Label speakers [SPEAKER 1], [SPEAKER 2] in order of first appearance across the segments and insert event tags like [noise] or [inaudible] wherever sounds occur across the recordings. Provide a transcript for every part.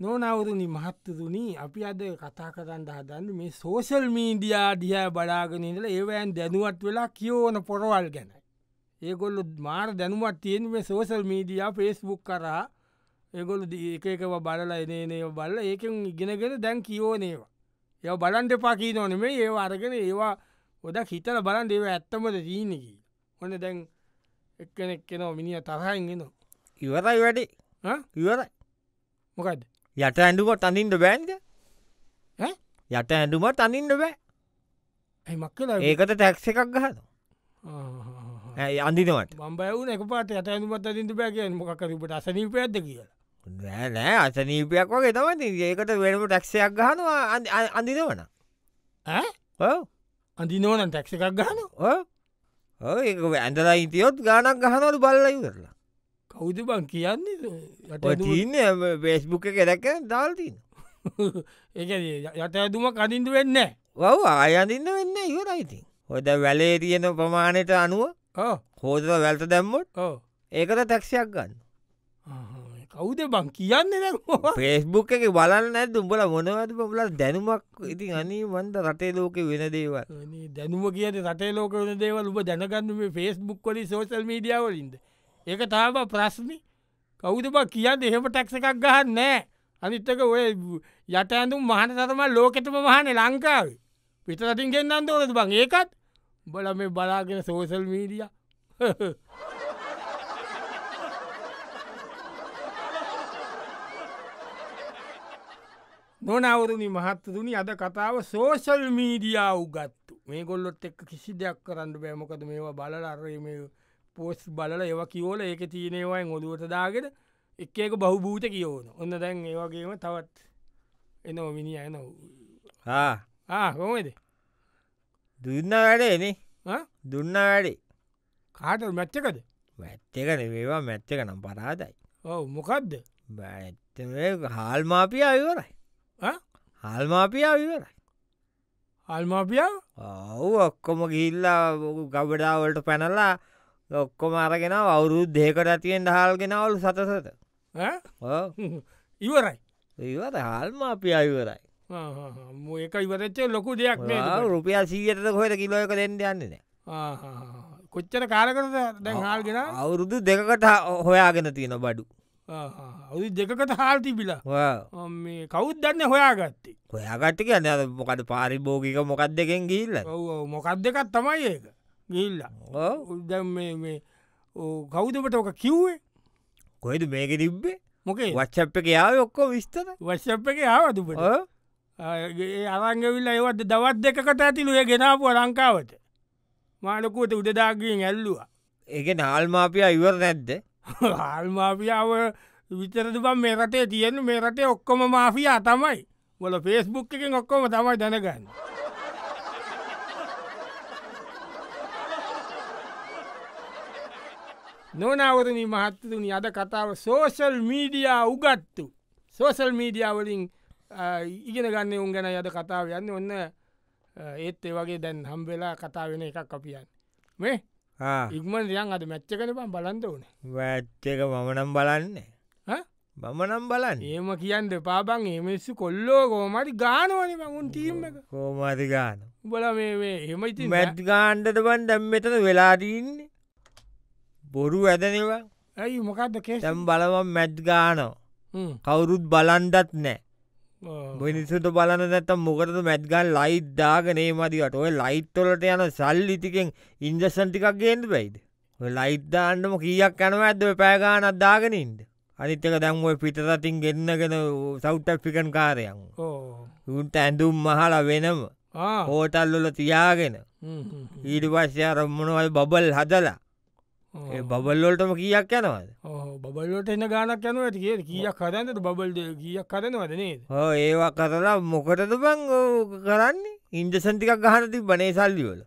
[SPEAKER 1] නොනවුරුණි මහත්තතුනී අපි අද කතා කරන්න හදන්න මේ සෝෂල් මීඩියා දිහ බලාගෙනදල ඒවෑන් දැනුවත් වෙලා කියෝන පොරවල් ගැන. ඒගොල්ලු මාර දැනුවත් තියෙන මේ සෝසල් මීඩියා ෆෙස්බුක් කරා ඒගොලු ඒකව බලලා එනේනය බල්ල ඒකෙන් ඉගෙනගෙන දැන් කියෝනේවා. ය බලන්ට පකී නොනෙමේ ඒ අරගෙන ඒවා ඔොද හිතල බලන් ඒව ඇත්තමද දීනකි. හොන දැන් එක්කනෙක් කෙනව මිනිිය තරහන්ගෙන
[SPEAKER 2] ඉවරයි වැඩි ඉවර
[SPEAKER 1] මොකද
[SPEAKER 2] යට ඇඩුමට අනින්ට බෑන්ද
[SPEAKER 1] ඈ?
[SPEAKER 2] යට ඇඩුමට අනින්ට බෑ
[SPEAKER 1] ඇමක් කලා
[SPEAKER 2] ඒකට තැක්ස එකක් ගහන අඳිනවට
[SPEAKER 1] බම්බයවන එක පාට ඇත ඇතුමත් අතින්ට පැකෙන් මොකරපට අසනී පැත්ද කියලා
[SPEAKER 2] නෑ අසනීපයක් වගේ තමයි ඒකට වෙනම ටැක්ෂයක් ගහනවා අඳිනවන
[SPEAKER 1] ඈ? අඳිනෝනන් තැක්ෂ එකක් ගහන
[SPEAKER 2] ඒ ඇඳලා ඉතියොත් ගානක් ගහනවලු බල්ලයි කරලා
[SPEAKER 1] කෞුද බං කියන්නේ යට
[SPEAKER 2] ඔය
[SPEAKER 1] ඇඳුම-
[SPEAKER 2] තියන්න පේස්බුක් කෙරැක දාල්තින
[SPEAKER 1] [laughs] ඒක යට ඇතුම කදින්ට වෙන්න
[SPEAKER 2] ඔව් අයඳන්න වෙන්න ඉවරයිතින් හොද වැලේ තියෙන ප්‍රමාණයට අනුව
[SPEAKER 1] ඕ
[SPEAKER 2] හෝදර වැල්ට දැම්මොත්
[SPEAKER 1] ඕ
[SPEAKER 2] ඒකට තැක්ෂයක් ගන්න
[SPEAKER 1] කෞුද බං කියන්න දැන් ඕවා?
[SPEAKER 2] පේස්බුක් එක බලන්න ඇත් උඹල මොනවද පුල දැනුමක් ඉතින් අනී වන්ද රටේ ලෝක වෙන දේවල්
[SPEAKER 1] අනේ දැනුම කියට රටේ ලෝක වන දේවල් උබ දැනගන්න මේ ෆෙස්බුක් කොලි සෝසල් මීඩියාවලින්ද ඒක තාම ප්‍රශ්නි කවුද බ කියන්න එහෙම ටැක්ස එකක් ගහන්න නෑ අනිත්තක ඔය යට ඇඳුම් මහන තරම ලෝකෙටම මහන ලංකාවේ පිතරටින් ගෙන්න්නන් ඕනද බං ඒකත් බල මේ බලාගෙන සෝසල් මීඩිය [laughs] නොනවරුණි මහත්තතුනි අද කතාව සෝෂල් මීඩියා උගත්තු මේ ගොල්ලොත් එක් කිසි දෙයක් කරන්න බෑමකද මේවා බලරරම පෝස් බලල ඒව කියෝල ඒක තියනේවයි ගොදුවට දාගෙන එක් ඒක බහුභූත කියෝන ඔන්න දැන් ඒවගේම තවත් එනෝ මිනි එන
[SPEAKER 2] ආ
[SPEAKER 1] හොමද
[SPEAKER 2] දුන්න වැඩේනේ දුන්න වැඩේ
[SPEAKER 1] කාට මැච්චකද
[SPEAKER 2] මැත්තකන වේවා මැච්චක නම් පරාදයි
[SPEAKER 1] ඔව මොකක්ද
[SPEAKER 2] බැත්ත හාල්මාපියා විවරයි
[SPEAKER 1] ආ?
[SPEAKER 2] හල්මාපියා විවරයි
[SPEAKER 1] අල්මාපියාව
[SPEAKER 2] ඔව් ඔක්කොම ගිල්ලා ගබඩාවලට පැනල්ලා ඔක්කොම අරගෙන අවුරුද් දෙකට ඇතියෙන් හල්ගෙනවලු සතසත ඔව්.
[SPEAKER 1] ඉවරයි
[SPEAKER 2] ඉවර හල්මාපිය අයවරයි
[SPEAKER 1] ඒක ඉවරච්ච ලොකු දෙයක් නේද බං?
[SPEAKER 2] රුපියල් සීයට කොහට කිලෝ එක දෙෙන්ට යන්නේන
[SPEAKER 1] ආ, ආ, ආ. කොච්චර කාලකරද දැන් හාල්ගෙන
[SPEAKER 2] අවුරුදු දෙකට හා- හොයාගෙන තියෙන බඩු
[SPEAKER 1] අවු දෙකට හාල්ති බිලා
[SPEAKER 2] ඔව්.
[SPEAKER 1] මේ කෞද්දන්න හොයා ගත්තේ
[SPEAKER 2] හොයාගට්ටික යන්න මොකට පාරිභෝගික මොකක් දෙකෙන් ගිල්ල
[SPEAKER 1] ඔව මොකක් දෙකත් තමයි ඒක ගිල්ලා උදැම් මේ කෞදමට ඕක කිව්වේ
[SPEAKER 2] කොයිද මේක තිබ්බේ
[SPEAKER 1] මොකේ
[SPEAKER 2] වච්චප් එක යාව ඔක්කෝ විස්තර
[SPEAKER 1] වශ්‍යප් එක ආවතුපට
[SPEAKER 2] ඔව්.
[SPEAKER 1] අරංගවිල්ල ඒවත් දවත් දෙකට ඇතිලු ඒ ගෙනාපුුව ලංකාවට මාලකුවට උඩදාගෙන් ඇල්ලවා
[SPEAKER 2] ඒක නාල්මාපිය ඉවර නැද්ද
[SPEAKER 1] [laughs] ආල්මාපියාව විතරද බම් මේ රටේ තියෙන මේ රටේ ඔක්කොම මාෆියා තමයි වල ෆෙස්බුක් එකෙන් ඔක්කොම තමයි දැනගන්න නොනවරණ මහත්තතුනි අද කතාව සෝෂල් මීඩියා උගත්තු සෝසල් මීඩියාවලින් ඉගෙන ගන්න උන් ගැන යද කතාව යන්න ඔන්න අ, ඒත් ඒ වගේ දැන් හම්බෙලා කතා වෙන එකක් අපියන් මේ ඉක්මන් යන් අද මැච්ච කන පම් බලන්ද ඕන
[SPEAKER 2] වැච්චක මමනම් බලන්න
[SPEAKER 1] ඈ?
[SPEAKER 2] මමනම් බලන්න
[SPEAKER 1] ඒම කියන්න පාබන් එමස්සු කොල්ලෝ කෝමරි ගානවන මගුන් ටීම් එක
[SPEAKER 2] කෝමාතිගාන
[SPEAKER 1] බල මේ එම ඉති
[SPEAKER 2] මැට් ගාන්ඩට බන් දැම්මතන වෙලාදීන්නේ බොරු ඇදනවා
[SPEAKER 1] ඇයි මොකක්ද කෙස
[SPEAKER 2] තැම් බලවම් මැට් ගානෝ කවුරුත් බලන්ඩත් නෑ මිනිසුට බලන නැතම් මොකටද මැත්්ගන් ලයිට් දාගනේ මදිකට ඔය ලයිට්තොලට යන සල්ලිතිකෙන් ඉන්දසන්ටිකක් ගේන්ද බයිද ලයිට්දාන්නම කියක් යනව ඇද පෑගාන අදදාගෙනින්ද අනිත්තක දැන්ුව පිටරතින් ගෙන්න්නගෙන සෞට්ටෆිකන් කාරයන් උන්ට ඇඳුම් මහල වෙනම හෝටල්ලොල තියාගෙන ඊට පස්සේ අරම්මනවල් බබල් හදලා ඒ බබල්ලොල්ටම කියක් යනවද
[SPEAKER 1] බබල්ලොට එන්න ගානක් යනු ඇති කිය කියක් කරන්නට බබල්ද කියක් කරනවද නේද
[SPEAKER 2] හෝ ඒවා කරලා මොකටද බං ඕක කරන්නේ ඉන්දසන්තිකක් ගහන ති බනේ සල්ලිවල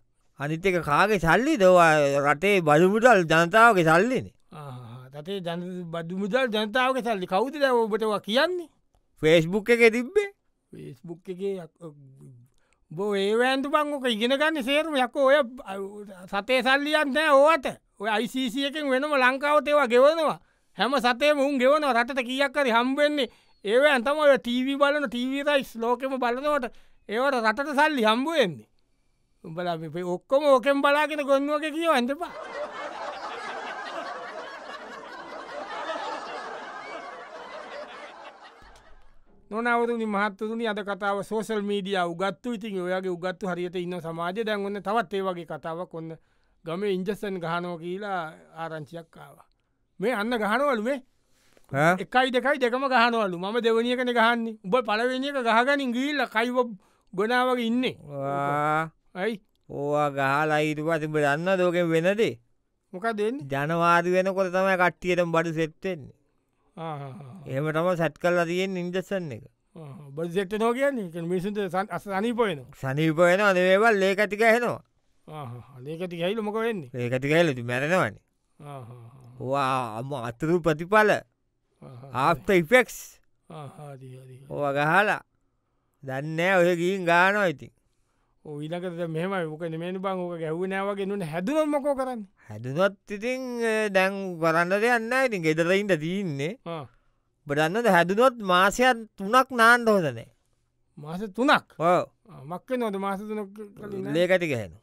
[SPEAKER 2] අනිත් එක කාගේ සල්ලි දවා රටේ බදුමුටල් ජනතාවගේ සල්ලින
[SPEAKER 1] තතේ ජන බදුමුදල් ජනතාවක සල්ලි කවුද දැ ඔබටවා කියන්නේ
[SPEAKER 2] ෆේස්බුක් එක තිබ්බේ
[SPEAKER 1] ෆේස්බුක් එකේ අ- බෝ ඒවෑන්තු පංගොක ඉගෙනගන්න සේරම යක ඔය අ- සතේ සල්ලියන්න ඕවත ඔය යිCC එකෙන් වෙනම ලංකාවතේවා ගෙවනවා හැම සතේ මුන් ගෙවන රටට කියක්කරි හම්බෙන්නේ ඒව ඇතමට ටීවී බලන ටීවරයිස් ලෝකෙම බලනවට ඒවට රටට සල්ලි හම්බුවෙන්නේ උඹල ඔක්කොම ඕකෙන් බලාගෙන ගොන්නුවක කියව ඇඳපා නොනවරුනි මහත්තුරුනි අද කතාව සෝසල් මීඩිය උගත්තු ඉතින් ඔයාගේ උගත්තු හරියට ඉන්න සමාජ දැන්ගන්න තවත් ඒ වගේ කතාවක් ඔන්න ගම ඉන්ජස්සන් ගහනෝ කියලා ආරංචියක් කාවා මේ අන්න ගහනවලුවේ එකයි දෙකයි දෙකම ගහනවලු ම දෙවනිය කන ගහන්නේ උබ පලවෙනික ගහගනින් ගීල්ල කයිව ගොනාවගේ ඉන්නේ ඇයි
[SPEAKER 2] ඕවා ගහලා ඊට පතිබ දන්න දෝකෙන් වෙනදේ
[SPEAKER 1] මොක දෙන්නේ
[SPEAKER 2] ජනවාද වෙනකොට තමයි කට්ටියට බඩු සෙට්ටෙන්නේ එහම තම සැට් කල්ලා තියෙන් ඉන්දසන්න එක
[SPEAKER 1] බදෙට නෝ කියන්නේ මිසුන්ට අසනීපයන
[SPEAKER 2] සනීපයන අදවේවල් ලේකතික හෙනවා
[SPEAKER 1] ලේකති ඇයිල මොක වෙන්නේ
[SPEAKER 2] ඒකතික ඇලතු මැරෙනවන්නේ වා අම අතුරු ප්‍රතිඵල ආප්ත ඉෆෙක්ස් ඕ ගහලා දන්න ඔය ගීන් ගානෝ ඉතින්
[SPEAKER 1] ඊලකට මෙම ක මේ බං ෝක ගැව් නෑවගේ නුන හැදුනම් මකෝ කරන්න
[SPEAKER 2] හැදුනොත් ඉතින් දැන් කරන්න දෙයන්න ඉතින් ගෙදරයින්ට තියන්නේ බඩන්නද හැදුනොත් මාසයන් තුනක් නාන්ට හොදනේ
[SPEAKER 1] මාස තුනක්
[SPEAKER 2] ඕ
[SPEAKER 1] මක්ක නොද මාස තුනක්
[SPEAKER 2] ලේකටි ගැහෙන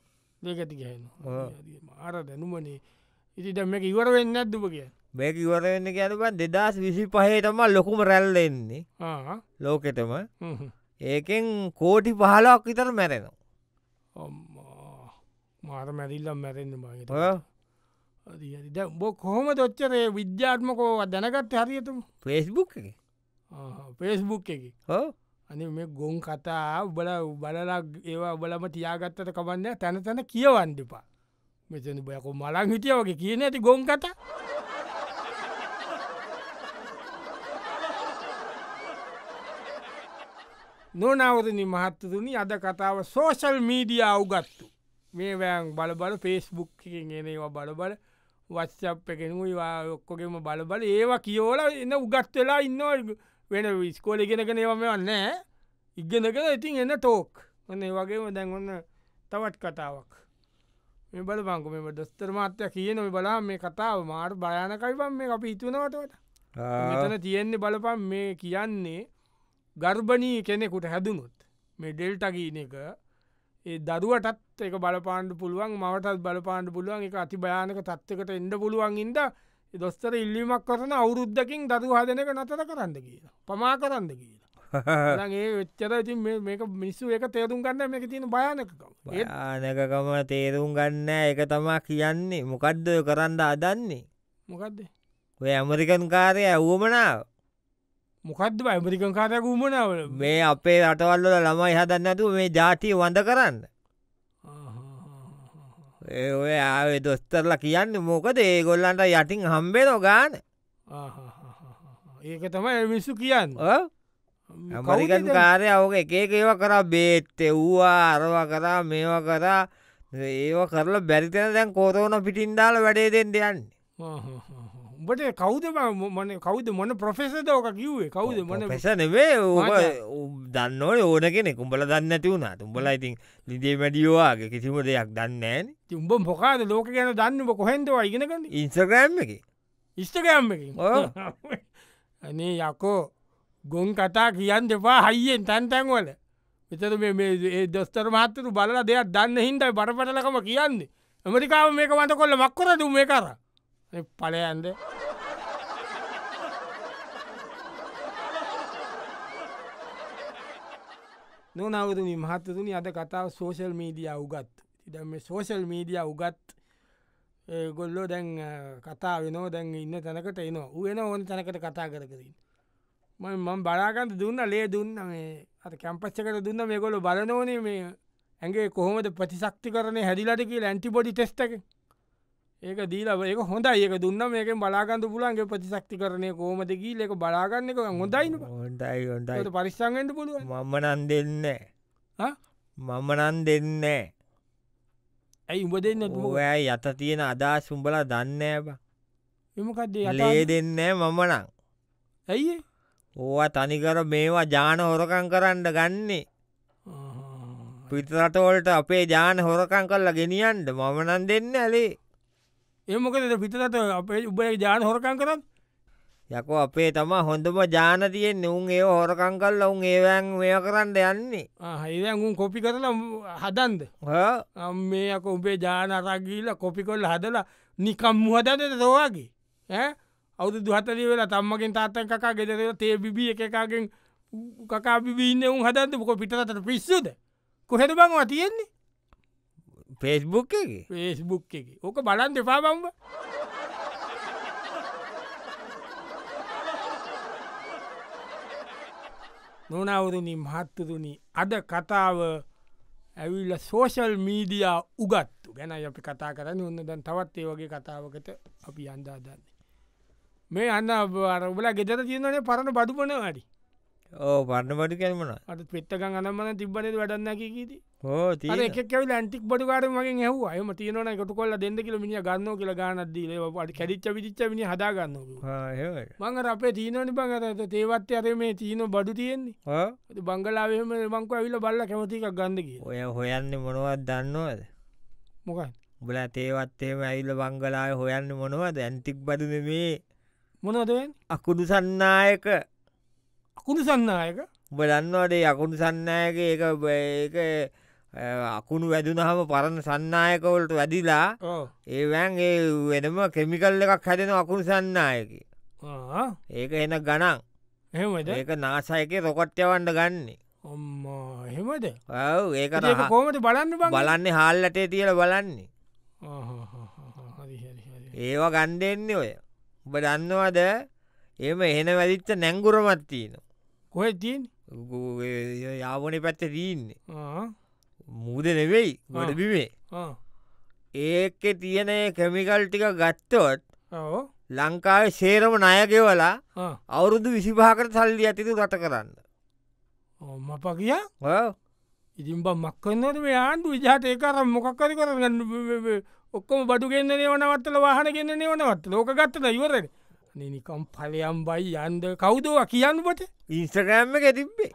[SPEAKER 1] ලේකති ගැහෙන ආර දැනුමනේ ඉති දැම ඉවර වෙන්න ඇදදුප කිය
[SPEAKER 2] මේක ඉවරවෙන්න කියනපන් දෙදස් විසි පහේටම ලොකුම රැල්ලෙන්නේ ලෝකෙටම ඒකෙන් කෝටි පහලක් විතර මැරෙනවා
[SPEAKER 1] මාර මැරිල්ලම් මැරෙන්න්න මගේ බො කොහොම තොච්චරේ විද්‍යාත්මකෝ දැනගත්ත හරියතුම
[SPEAKER 2] පෙස්බුක් එක
[SPEAKER 1] පෙස්බුක් එක
[SPEAKER 2] හෝ
[SPEAKER 1] අනි මේ ගොන් කතා උබල බලලා ඒවා බලම තියාගත්තට කබන්න තැන තැන කියවන්ඩිපා මෙතන බයකු මලං හිටිය වගේ කියන ඇති ගොන් කතා නොනවරණ මහත්තතුනි අද කතාව සෝෂල් මීඩිය අවගත්තු මේ වෑන් බලබල පේස්බුක් ගෙනවා බලබල වස්සප් එකෙනු ඔක්කොගේම බලබල ඒවා කියෝල එන්න උගත් වෙලා ඉන්න වෙන විස්කෝල ඉගෙනගෙන ඒවම වන්නෑ ඉගෙනගෙන ඉතින් එන්න තෝක් ඔන්න ඒ වගේම දැන්වන්න තවත් කතාවක් මේ බල බංකු මෙම දොස්තර මාත්‍ය කියන බලා මේ කතාව මාර භයනකයිපන් මේ අපි ඉතුනවටට මෙතන තියෙන්නේ බලපන් මේ කියන්නේ ගර්භනී කෙනෙකුට හැදුනුත් මේ ඩෙල්ටගීන එක ඒ දරුවටත් එක බලපාණ්ඩ පුළුවන් මවටත් බලපාණ්ඩ පුළුවන් එක අති භයානක තත්වකට එන්ඩ පුළුවන් ඉන්ද දොස්තර ඉල්ලිමක් කරන අවුරුද්ධකින් දරු හදනක නතර කරන්න කියලා පමා කරන්න [laughs] කියලා ඒ වෙච්චර ඉති මේක මිස්සු එක තේරුම් ගන්න මේක තියෙන භයනකකම
[SPEAKER 2] ආනකකම තේරුම් ගන්න එක තමා කියන්නේ මොකක්ද කරන්න අදන්නේ
[SPEAKER 1] මොකක්දේ
[SPEAKER 2] ඔය ඇමරිකන් කාරය ඇවුවමනාව
[SPEAKER 1] මොකක්ද ඇමරිකන් කාරයක් උමනාවල
[SPEAKER 2] මේ අපේ රටවල්ල ළමයි හදන්නතු මේ ජාතිය වඳ කරන්න ඔය ආවේ දොස්තරල කියන්න මොකද ඒගොල්ලන්ට යටින් හම්බේ නොගාන
[SPEAKER 1] ඒක තම මිස්සු කියන්න
[SPEAKER 2] ඇමරිකන් කාරය ඔක එකක ඒව කරා බේත් එව්වා අරවා කරා මේවා කරා ඒව කරලා බැරිතන දැන් කෝරෝන පිටින් දාල වැඩේ දෙෙන් දෙයන්න
[SPEAKER 1] උඹට කවුද මන කවුද මොන ප්‍රොෆෙසද ඕක කිව්වේ කවුද මන
[SPEAKER 2] පෙසනවේ දන්නවට ඕන කෙනෙ කුඹල දන්න ඇති වුණා උඹලා ඉතින් ලිදේ වැඩියෝවාගේ කිසිම දෙයක් දන්නෑන
[SPEAKER 1] උඹ මොකාද ලෝක ගැන දන්නම කොහෙන්දවා ඉගෙනකන්න
[SPEAKER 2] ඉන්ස්ග්‍රම් එක
[SPEAKER 1] ඉස්ටගම් එක [laughs] අනේ යකෝ ගොන් කතා කියන්න දෙපා හයිියෙන් තැන්තැන්වල විතර මේ දොස්තර මහත්තරු බලලා දෙයක් දන්න හින්දයි බරපටලකම කියන්නේ ඇමරිකාව මේක මත කොල්ල මක්කොරතු මේ කර පලයන්ද [laughs] නොනවරුනි මහත්තතුනි අද කතාව සෝෂල් මීඩිය උගත් ඉඩ මේ සෝෂල් මීඩිය උගත් ගොල්ලෝ දැන් කතා වෙනෝ දැන් ඉන්න තැනකට එනවා වෙන ඕන තැනකට කතා කරකරින් මම බලාගන්ත දුන්න ලේ දුන්න මේ අත කැම්පච්චකට දුන්න මේ ගොලු බලනෝනේ මේ ඇගේ කොහොමද ප්‍රතිශක්ති කරන හැදිලට කිය ඇන්ටිබොඩි ටෙස්ටක ඒක දීලව ඒක හොඳ ඒක දුන්න මේක බලාගන්ද පුලන්ගේ ප්‍රතිශක්ති කරනය කෝමදකී ලෙක බලාගන්න එක හොඳයින
[SPEAKER 2] හොටයි හොටයි
[SPEAKER 1] පරිස්සන්ගෙන්ට පුළුව
[SPEAKER 2] මම නන් දෙන්න මම නන් දෙන්න
[SPEAKER 1] ඇයි උඹ දෙන්න
[SPEAKER 2] ඔෑ යත තියෙන අදා සුම්බල දන්න බ
[SPEAKER 1] එමකක්දේ
[SPEAKER 2] ලේ දෙන්න මම නං
[SPEAKER 1] ඇයි
[SPEAKER 2] ඕවා තනිකර මේවා ජාන හොරකං කරන්න ගන්නේ පිතරටවලට අපේ ජාන හොරකං කරලා ගෙනියන්ට මම නන් දෙන්න ඇලේ
[SPEAKER 1] ඒමකද පිටත අපේ උබේ ජාන හොරකන් කරන්න
[SPEAKER 2] යකෝ අපේ තම හොඳම ජානතියෙන් නුන් ඒ හොරකං කල්ල උන් ඒවැන් මෙය කරන්න යන්නේ
[SPEAKER 1] හිදැගුම් කොපි කරලා හදන්ද
[SPEAKER 2] හ?
[SPEAKER 1] මේ අක උබේ ජානරගීල කොපි කොල් හදලා නිකම් මුහදද දෝවාගේ ඇ අවුදු දුහතරී වෙලා තම්මකින් තාත්තන් කකා ගෙදර තේ බිබිය එකකාගෙන් කකාබිබීන්න උන් හදන්ද මොක පිටතට පිස්සුද කොහෙට බංවා තියෙන්නේ
[SPEAKER 2] පෙස්බුක් එක
[SPEAKER 1] පේස්බුක් එක ඕක බලන් දෙපා බම්බ නොනවරුණි මහත්තුරුණි අද කතාව ඇවිල්ල සෝෂල් මීඩියා උගත්තු ගැන අපි කතා කරන්න ඔන්න දැන් තවත් ඒ වගේ කතාවකට අපි අන්දා දන්න මේ අන්න අරබල ගෙදර තියෙනනේ පරණ බදුපන වැඩි
[SPEAKER 2] ඕ පන්නමටි කැල්මන
[SPEAKER 1] අට පෙත්තකන් අනම්මන තිබ්බනද වැඩන්න කීද
[SPEAKER 2] හෝ
[SPEAKER 1] එකක් ඇවිල ඇන්ටික් බඩුකාරමගේ හව අයම තියන කොට කොල්ල දෙන්න කියල මිනි ගන්න කියල ගන්නදී පට කැරිච්ච විච විනි හදාගන්නවා මං අර අපේ තීනනි පඟත තේවත්ය අර මේ තීන බඩු තියෙන්නේ ඇති බංගලාවම මංක ඇවිල බල්ල කැමතිකක් ගන්ද කිය
[SPEAKER 2] ඔය හොයන්න මොනවත් දන්නවද
[SPEAKER 1] මොකයි
[SPEAKER 2] බල තේවත්තේම ඇවිල්ල බංගලාය හොයන්න මොනවද ඇන්තික් බදන මේ
[SPEAKER 1] මොනොදෙන්
[SPEAKER 2] අකුඩු සන්නායක
[SPEAKER 1] අකුණු සන්නයක
[SPEAKER 2] බලන්නවදේ අකුණු සන්නයක ඒක බ- ඒක අ, අකුණු වැදුනහම පරණ සන්නායකවලට වැදිලා ඒවැන් ඒ වෙනම කෙමිකල් එකක් හැදෙන අකුණු සන්නායකි ඒක එන ගණන්
[SPEAKER 1] එහෙමද
[SPEAKER 2] ඒක නාසයක රොකොට්්‍යවන්ඩ ගන්නේ
[SPEAKER 1] ඔම්මා එහෙමද
[SPEAKER 2] ඔව් ඒක
[SPEAKER 1] ඒක
[SPEAKER 2] රහ-
[SPEAKER 1] කෝමට බලන්න බං
[SPEAKER 2] බලන්නේ හාල්ලටේ තියල බලන්නේ
[SPEAKER 1] හරි හරි හරි
[SPEAKER 2] ඒවා ගණ්ඩෙන්නේ ඔය උඹ දන්නවද එම එහෙන වැදිච්ච නැංගුරමත්තියන
[SPEAKER 1] කොහෙ තියන්
[SPEAKER 2] යාවන පැත්ත දීන්නේ මුද නෙවෙයි ගොඩ
[SPEAKER 1] ආ.
[SPEAKER 2] බිමේ ඒක තියන කැමිකල් ටික ගත්තොත්
[SPEAKER 1] ඕ
[SPEAKER 2] ලංකාවේ සේරම නයගෙවලා අවුරුදු විසිභාකට සල්ලි ඇතිතු රට කරන්න
[SPEAKER 1] ඔම්ම ප කියා
[SPEAKER 2] ඔව්.
[SPEAKER 1] ඉතින් බම් මක්කන්නට මේ ආණ්ඩු විජාට ඒකර මොකක්කරි කරගන්න ඔක්කම බඩු ගෙන්න්න නවනවත්තල වාහන ගෙන්න්න නවනවත් ලෝක ගත්තන ඉවරෙන නිකම් පලයම් බයි යන්ද කෞදවා කියන්නපට
[SPEAKER 2] ඉන්ස්ට්‍රගෑම්ම එක තිබ්බේ